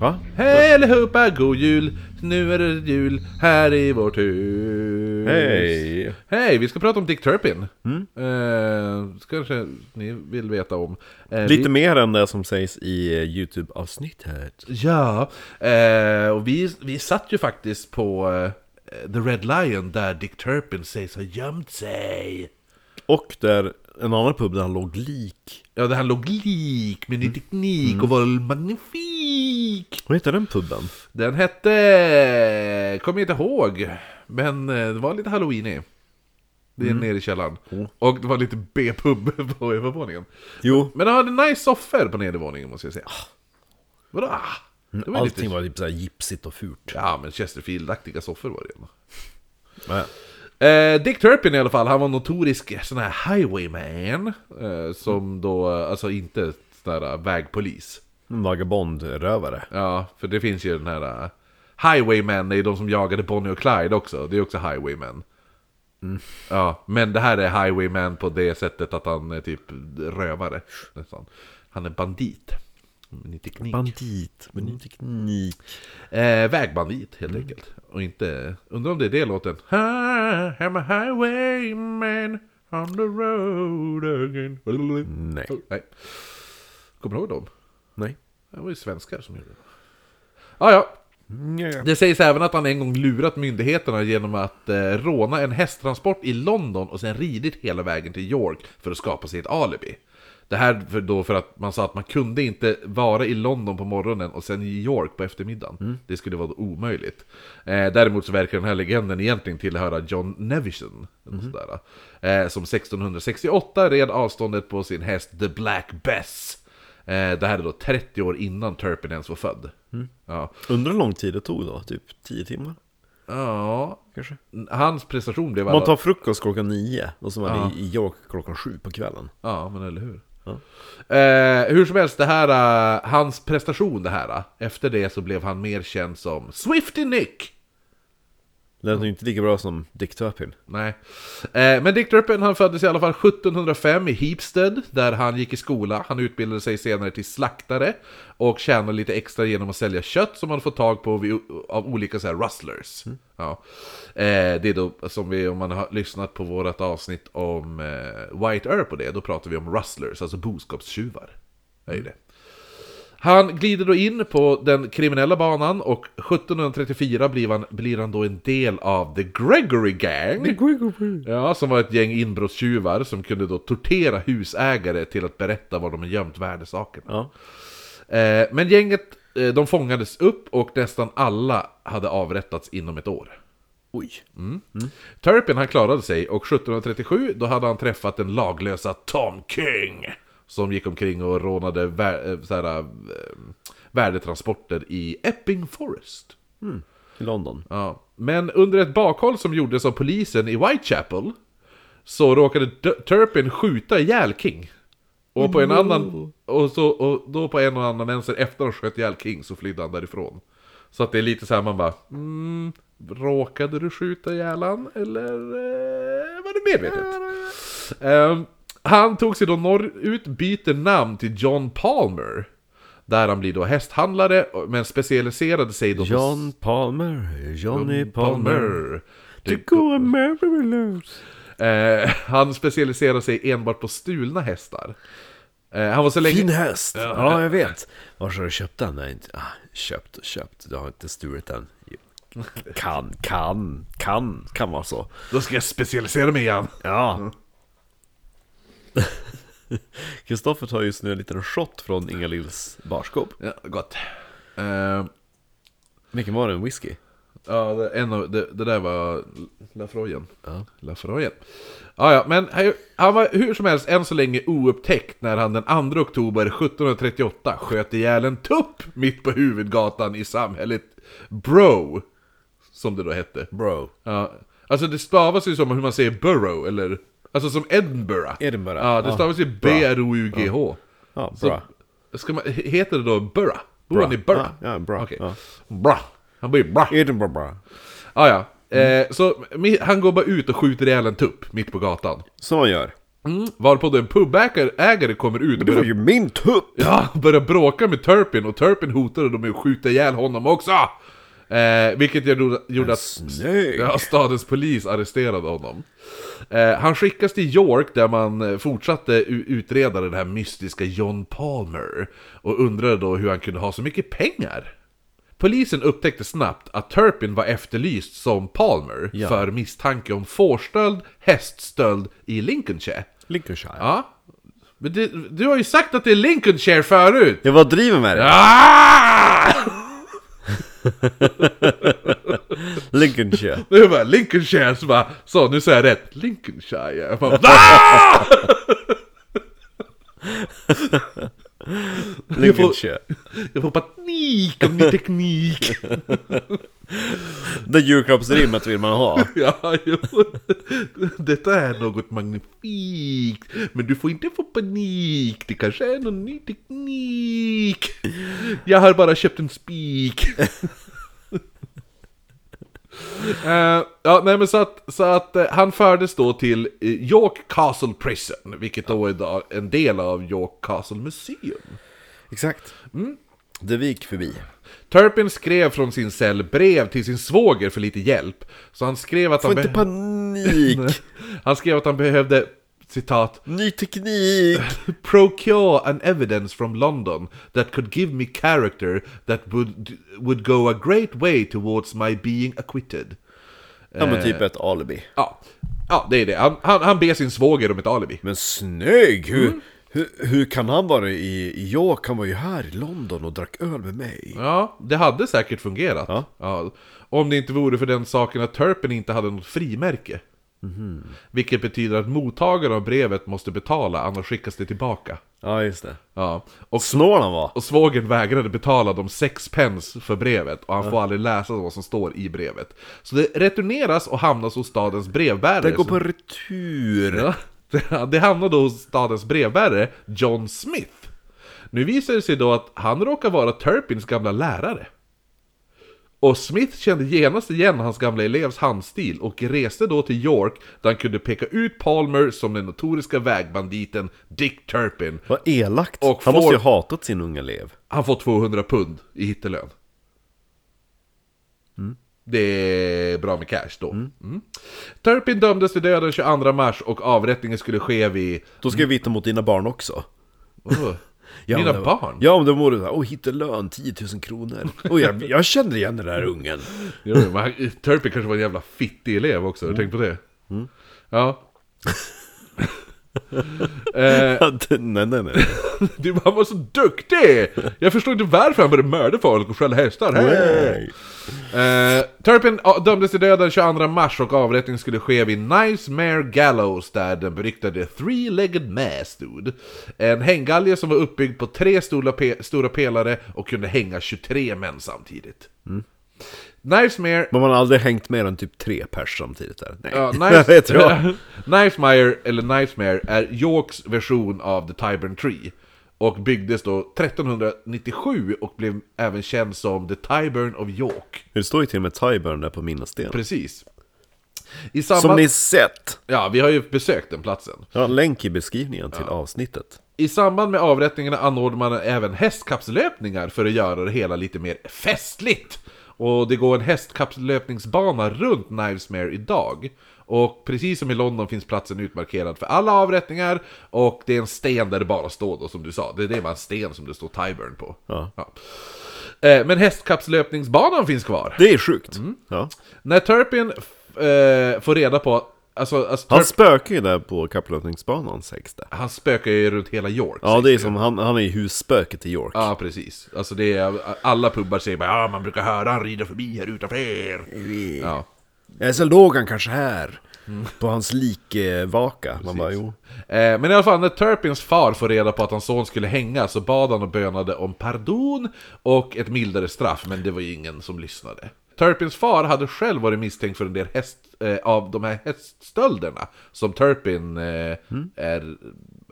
Va? Hej allihopa, god jul! Nu är det jul här i vårt hus. Hej! Mm. Hej, vi ska prata om Dick Turpin. Eh, så kanske ni vill veta om. Eh, Lite vi, mer än det som sägs i eh, YouTube-avsnittet. Ja, eh, och vi, vi satt ju faktiskt på eh, The Red Lion där Dick Turpin sägs ha gömt sig. Och där en annan pub där han låg lik. Ja, där han låg lik Mm. med ny teknik och var magnifik. Vad heter den puben? Den hette... Kommer jag inte ihåg. Men eh, det var lite halloweenig. Det är Mm. nere i källaren. Och det var lite B-pub på övervåningen. Jo, Men han hade nice soffor på nedervåningen måste jag säga. Vadå? ah? Det var Ah. allting lite... var typ såhär gipsigt och fult. Ja, men Chesterfield-aktiga soffor var det ju. Ja. Eh, Dick Turpin i alla fall, han var notorisk sån här highwayman. Eh, Mm. som då, alltså inte sån här eh, vägpolis. En vagabondrövare. Ja, för det finns ju den här... eh, Highwaymen är ju de som jagade Bonnie och Clyde också. Det är också Highwaymen. Ja, men det här är Highwayman på det sättet att han är typ rövare. Nästan. Han är bandit. Med ny teknik. Bandit, med ny teknik. eh, vägbandit helt enkelt. Och inte... Undrar om det är det låten? I'm a highwayman on the road again. Nej. Nej. Kommer du ihåg dem? Nej. Det var ju svenskar som gjorde det. Ah, ja, Det sägs även att han en gång lurat myndigheterna genom att eh, råna en hästtransport i London och sen ridit hela vägen till York för att skapa sig ett alibi. Det här för, då för att man sa att man kunde inte vara i London på morgonen och sen i York på eftermiddagen. Det skulle vara omöjligt. Eh, däremot så verkar den här legenden egentligen tillhöra John Nevison. eller Sådär, eh, som 1668 red avståndet på sin häst The Black Bess. Eh, det här är då 30 år innan Turpin ens var född. Ja. Undrar hur lång tid det tog då? Typ 10 timmar? Ja, Kanske? hans prestation blev Man alla... tar frukost klockan 9 och så var ja. i York klockan 7 på kvällen. Ja, men eller hur? Ja. Eh, hur som helst, det här, eh, hans prestation det här, eh, efter det så blev han mer känd som Swifty Nick! Lät ju inte lika bra som Dick Turpin. Nej. Eh, men Dick Turpin han föddes i alla fall 1705 i Heapstead, där han gick i skola. Han utbildade sig senare till slaktare och tjänade lite extra genom att sälja kött som han fått tag på vid, av olika så här rustlers. Ja. Eh, det är då som vi, om man har lyssnat på vårt avsnitt om eh, White Earp och det, då pratar vi om rustlers, alltså boskapstjuvar. Det är ju det. Han glider då in på den kriminella banan och 1734 blir han, blir han då en del av The Gregory Gang. Ja, som var ett gäng inbrottstjuvar som kunde då tortera husägare till att berätta var de har gömt värdesakerna. Ja. Eh, men gänget, eh, de fångades upp och nästan alla hade avrättats inom ett år. Oj. Turpin han klarade sig och 1737 då hade han träffat den laglösa Tom King som gick omkring och rånade vä- eh, så här, eh, värdetransporter i Epping Forest. I London. Ja. Men under ett bakhåll som gjordes av polisen i Whitechapel så råkade D- Turpin skjuta ihjäl King. Och på en annan... Och, så, och då på en och annan vänster efter han sköt ihjäl King så flydde han därifrån. Så att det är lite så här man bara... Mm, råkade du skjuta ihjäl han eller eh, var det medvetet? Ehm, han tog sig då norrut, byter namn till John Palmer. Där han blir då hästhandlare, men specialiserade sig då på John Palmer, Johnny Palmer. Mm, Det- America will lose. Eh, han specialiserar sig enbart på stulna hästar. Eh, han var så länge... Fin häst! Ja, jag vet. Var har du köpt den? Nej, inte. Ah, köpt och köpt. Du har inte stulit den. Jo. Kan, kan, kan, kan vara så. Då ska jag specialisera mig igen. Ja. Kristoffer tar just nu en liten shot från Inga-Lills barskåp. Ja, gott. Eh, Vilken var det? En whisky? ja, det, en av, det, det där var Lafroyen. Ja. Lafroyen. Ja, ja, men han- han var hur som helst än så länge oupptäckt när han den 2 oktober 1738 sköt ihjäl en tupp mitt på huvudgatan i samhället Bro. Som det då hette. Bro. Ja, alltså det stavas ju som hur man säger borough, eller? Alltså som Edinburgh. Edinburgh. Ja, det Ja. stavas ju B-R-O-U-G-H. Ja, Så- bra. Ska man, heter det då Burra? Bor han i Burra? Ja, ja, bra. Okej. Ja. Eh. Bra. Han blir bra. Edinburgh bra. Ah, ja. Eh, så mi- han går bara ut och skjuter ihjäl en tupp mitt på gatan. Som man gör. Mm. Varpå då en pubägare ägare kommer ut och Det var börjar, ju min tupp! ja, börjar bråka med Turpin och Turpin hotade dem med att skjuta ihjäl honom också! Eh, vilket gjorde, gjorde att Snygg! ja, stadens polis arresterade honom. Eh, han skickas till York där man eh, fortsatte u- utreda den här mystiska John Palmer och undrade då hur han kunde ha så mycket pengar. Polisen upptäckte snabbt att Turpin var efterlyst som Palmer Ja. för misstanke om fårstöld, häststöld i Lincolnshire. Lincolnshire. Ja. Men du, du har ju sagt att det är Lincolnshire förut! Jag var driven med det. Ah! Lincolnshire. Det var Lincolnshire som bara så nu säger jag rätt, Lincolnshire. Jag bara, "Ah!" Lincolnshire. jag får panik om min teknik. Det julklappsrimmet vill man ha. Ja, jo. Detta är något magnifikt, men du får inte få panik. Det kanske är någon ny teknik. Jag har bara köpt en spik. Eh, ja, nej, men så att, så att eh, han fördes då till eh, York Castle Prison, vilket då är idag en del av York Castle Museum. Exakt. Mm. Det vi gick förbi. Turpin skrev från sin cell brev till sin svåger för lite hjälp, så han skrev att Få han... inte behö- panik! Han skrev att han behövde, citat, Ny teknik! procure an evidence from London that could give me character that would, would go a great way towards my being acquitted. Ja men typ ett alibi. Ja, ja det är det. Han, han, han ber sin svåger om ett alibi. Men snygg! Hur, hur, hur kan han vara i, i York? Han var ju här i London och drack öl med mig. Ja, det hade säkert fungerat. Ja. Om det inte vore för den saken att Turpin inte hade något frimärke. Vilket betyder att mottagaren av brevet måste betala, annars skickas det tillbaka. Ja just det. Ja. Och Snål han var! Och svågen vägrade betala de sex pence för brevet och han får aldrig läsa vad som står i brevet. Så det returneras och hamnas hos stadens brevbärare. Det går på som- retur! Ja, det- Det hamnade hos stadens brevbärare, John Smith. Nu visar det sig då att han råkar vara Turpins gamla lärare. Och Smith kände genast igen hans gamla elevs handstil och reste då till York där han kunde peka ut Palmer som den notoriska vägbanditen Dick Turpin. Vad elakt! Och han får- måste ju ha hatat sin unga elev. Han får 200 pund i hittelön. Mm. Det är bra med cash då. Mm. Turpin dömdes till döden 22 mars och avrättningen skulle ske vid... Då ska jag vittna mot dina barn också. Åh, Ja, mina men det var- barn? Ja, men då mår du såhär, åh hitta lön, 10 000 kronor. Och jag, jag känner igen den där ungen. Jo, men han, Turpin kanske var en jävla fittig elev också, Mm. har du tänkt på det? Ja. eh, nej, nej, nej. du, han var så duktig! Jag förstår inte varför han började mörda folk och stjäla hästar. Hey! Eh, Turpin ah, dömdes till döden 22 mars och avrättningen skulle ske vid Knivesmere Gallows där den beryktade Three-Legged Man stod. En hänggalge som var uppbyggd på tre stora, pe- stora pelare och kunde hänga 23 män samtidigt. Mm. Knivesmere... Men man har aldrig hängt mer än typ tre pers samtidigt där. Nej, Ja, jag vet jag. Knivesmire, eller Knivesmere, är Yorks version av The Tyburn Tree. Och byggdes då 1397 och blev även känd som The Tyburn of York. Det står ju till och med Tyburn där på minnesdelen. Precis. I samband... Som ni sett! Ja, vi har ju besökt den platsen. Jag har en länk i beskrivningen till avsnittet. I samband med avrättningarna anordnar man även hästkapslöpningar för att göra det hela lite mer festligt. Och det går en hästkapslöpningsbana runt Knivesmere idag. Och precis som i London finns platsen utmarkerad för alla avrättningar och det är en sten där det bara står då som du sa. Det är det var en sten som det står Tyburn på. Ja. Eh, Men hästkapslöpningsbanan finns kvar. Det är sjukt. Mm. Ja. När Turpin eh, får reda på... Alltså, alltså Han Turpin, spökar ju där på kapplöpningsbanan sägs det. han spökar ju runt hela York. Ja, det är som, han, han är ju husspöket i York. Ja, precis. Alltså det är, alla pubbar säger bara ja, man brukar höra han rider förbi här utanför. Ja. Eller så låg han kanske här. Mm. På hans likvaka. Man bara, jo. Eh, Men i alla fall, när Turpins far får reda på att hans son skulle hänga så bad han och bönade om pardon och ett mildare straff, men det var ju ingen som lyssnade. Turpins far hade själv varit misstänkt för en del häst, eh, av de här häststölderna som Turpin eh, är,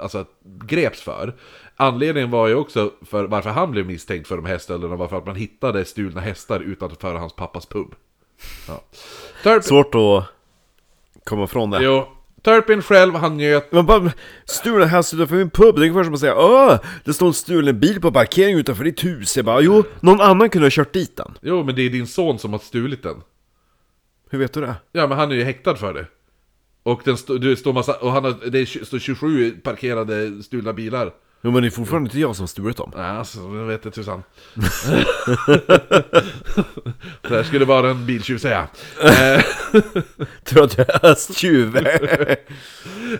alltså, greps för. Anledningen var ju också för varför han blev misstänkt för de här stölderna var för att man hittade stulna hästar utanför hans pappas pub. Ja. Turpin, Svårt att komma ifrån det. jo, Turpin själv, han njöt Man bara, stulna häst utanför min pub, det är ungefär som att säga Åh, det står en stulen bil på parkeringen utanför ditt hus. Jag bara, jo, någon annan kunde ha kört dit den. Jo, men det är din son som har stulit den. Hur vet du det? Ja, men han är ju häktad för det. Och den stå, du står massa, och han har, det är, tj- står 27 parkerade stulna bilar. Jo, men det är fortfarande inte jag som har stulit dem. Nej, alltså, jag vet inte tusan. det här skulle bara en biltjuv säga. Eh, Tror att jag är östtjuv.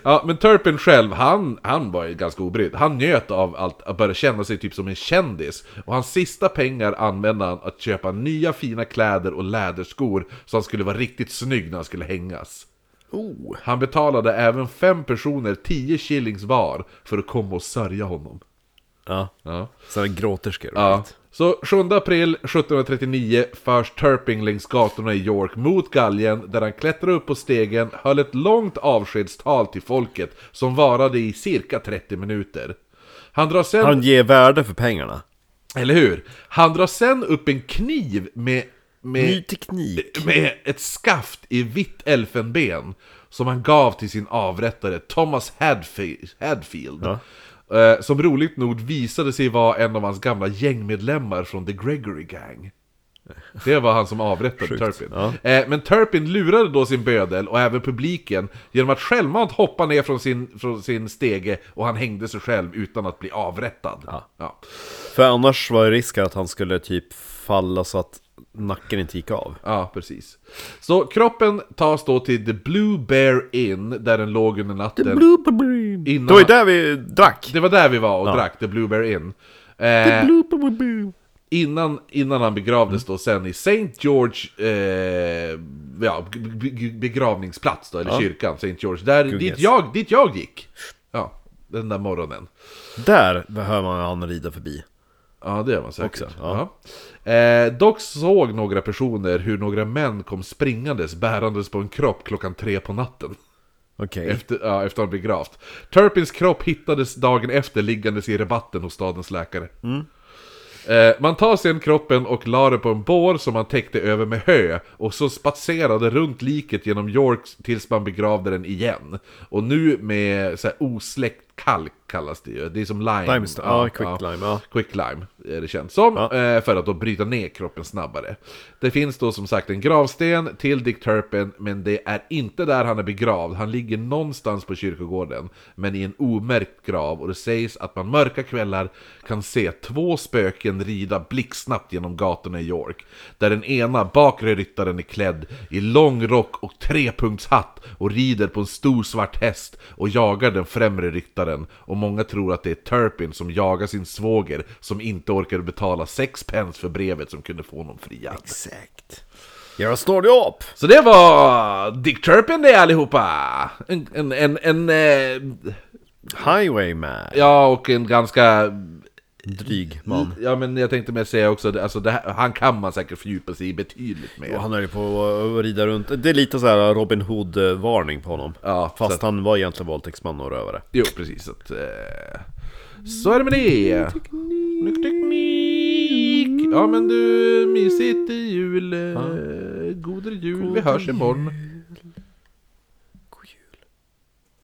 ja, men Turpin själv, han, han var ju ganska obrydd. Han njöt av allt, att börja känna sig typ som en kändis. Och hans sista pengar använde han att köpa nya fina kläder och läderskor, så han skulle vara riktigt snygg när han skulle hängas. oh. Han betalade även fem personer 10 shillings var för att komma och sörja honom. Ja, Ja. sådana gråterskor. Ja. Så 7 april 1739 förs Turping längs gatorna i York mot galgen där han klättrade upp på stegen, höll ett långt avskedstal till folket som varade i cirka 30 minuter. Han drar sen... Han ger värde för pengarna. Eller hur? Han drar sen upp en kniv med... med Ny teknik. Eh, med ett skaft i vitt elfenben som han gav till sin avrättare Thomas Hadfi- Hadfield. eh, Som roligt nog visade sig vara en av hans gamla gängmedlemmar från The Gregory Gang. Det var han som avrättade Turpin. Eh, Men Turpin lurade då sin bödel och även publiken genom att självmant hoppa ner från sin, från sin stege och han hängde sig själv utan att bli avrättad. Ja. För annars var det risk att han skulle typ falla så att nacken inte gick av. Ja, precis. Så kroppen tas då till The Blue Bear Inn, där den låg under natten. Innan- Det var ju där vi drack! Det var där vi var och drack, The Blue Bear Inn. Eh, innan, innan han begravdes då sen i St. George eh, ja, b- b- begravningsplats då, eller kyrkan, St. George. Där, dit, Gunges. jag, dit jag gick. Ja, den där morgonen. Där hör man han rida förbi. Ja, det gör man säkert. Också, ja. Eh, dock såg några personer hur några män kom springandes bärandes på en kropp klockan tre på natten. Okej. Efter, ja, efter han blev gravt. Turpins kropp hittades dagen efter liggandes i rabatten hos stadens läkare. Mm. Eh, man tar sen kroppen och la den på en bår som man täckte över med hö och så spatserade runt liket genom York tills man begravde den igen. Och nu med så här, osläckt kalk kallas det ju. Det är som lime. Lime, ja, quicklime, ja. Quicklime är det känt som, Ja. eh, för att då bryta ner kroppen snabbare. Det finns då som sagt en gravsten till Dick Turpin, men det är inte där han är begravd. Han ligger någonstans på kyrkogården, men i en omärkt grav. Och det sägs att man mörka kvällar kan se två spöken rida blixtsnabbt genom gatorna i York. Där den ena bakre ryttaren är klädd i lång rock och trepunktshatt och rider på en stor svart häst och jagar den främre ryttaren och många tror att det är Turpin som jagar sin svåger som inte orkade betala sex pence för brevet som kunde få honom friad. Exakt. Jag står dig upp! Så det var Dick Turpin det allihopa! En, en, en, en eh, Highwayman. ja och en ganska, Dryg man. ja men jag tänkte mer säga också, alltså det här, han kan man säkert fördjupa sig i betydligt mer. Och han höll ju på att rida runt. Det är lite så här Robin Hood-varning på honom. Ja, Fast han var egentligen våldtäktsman och rövare. Jo, precis. Att, eh, så är det med det. Ny teknik. Ja, men du, mysigt i jul. eh, Godare jul. Vi hörs imorgon.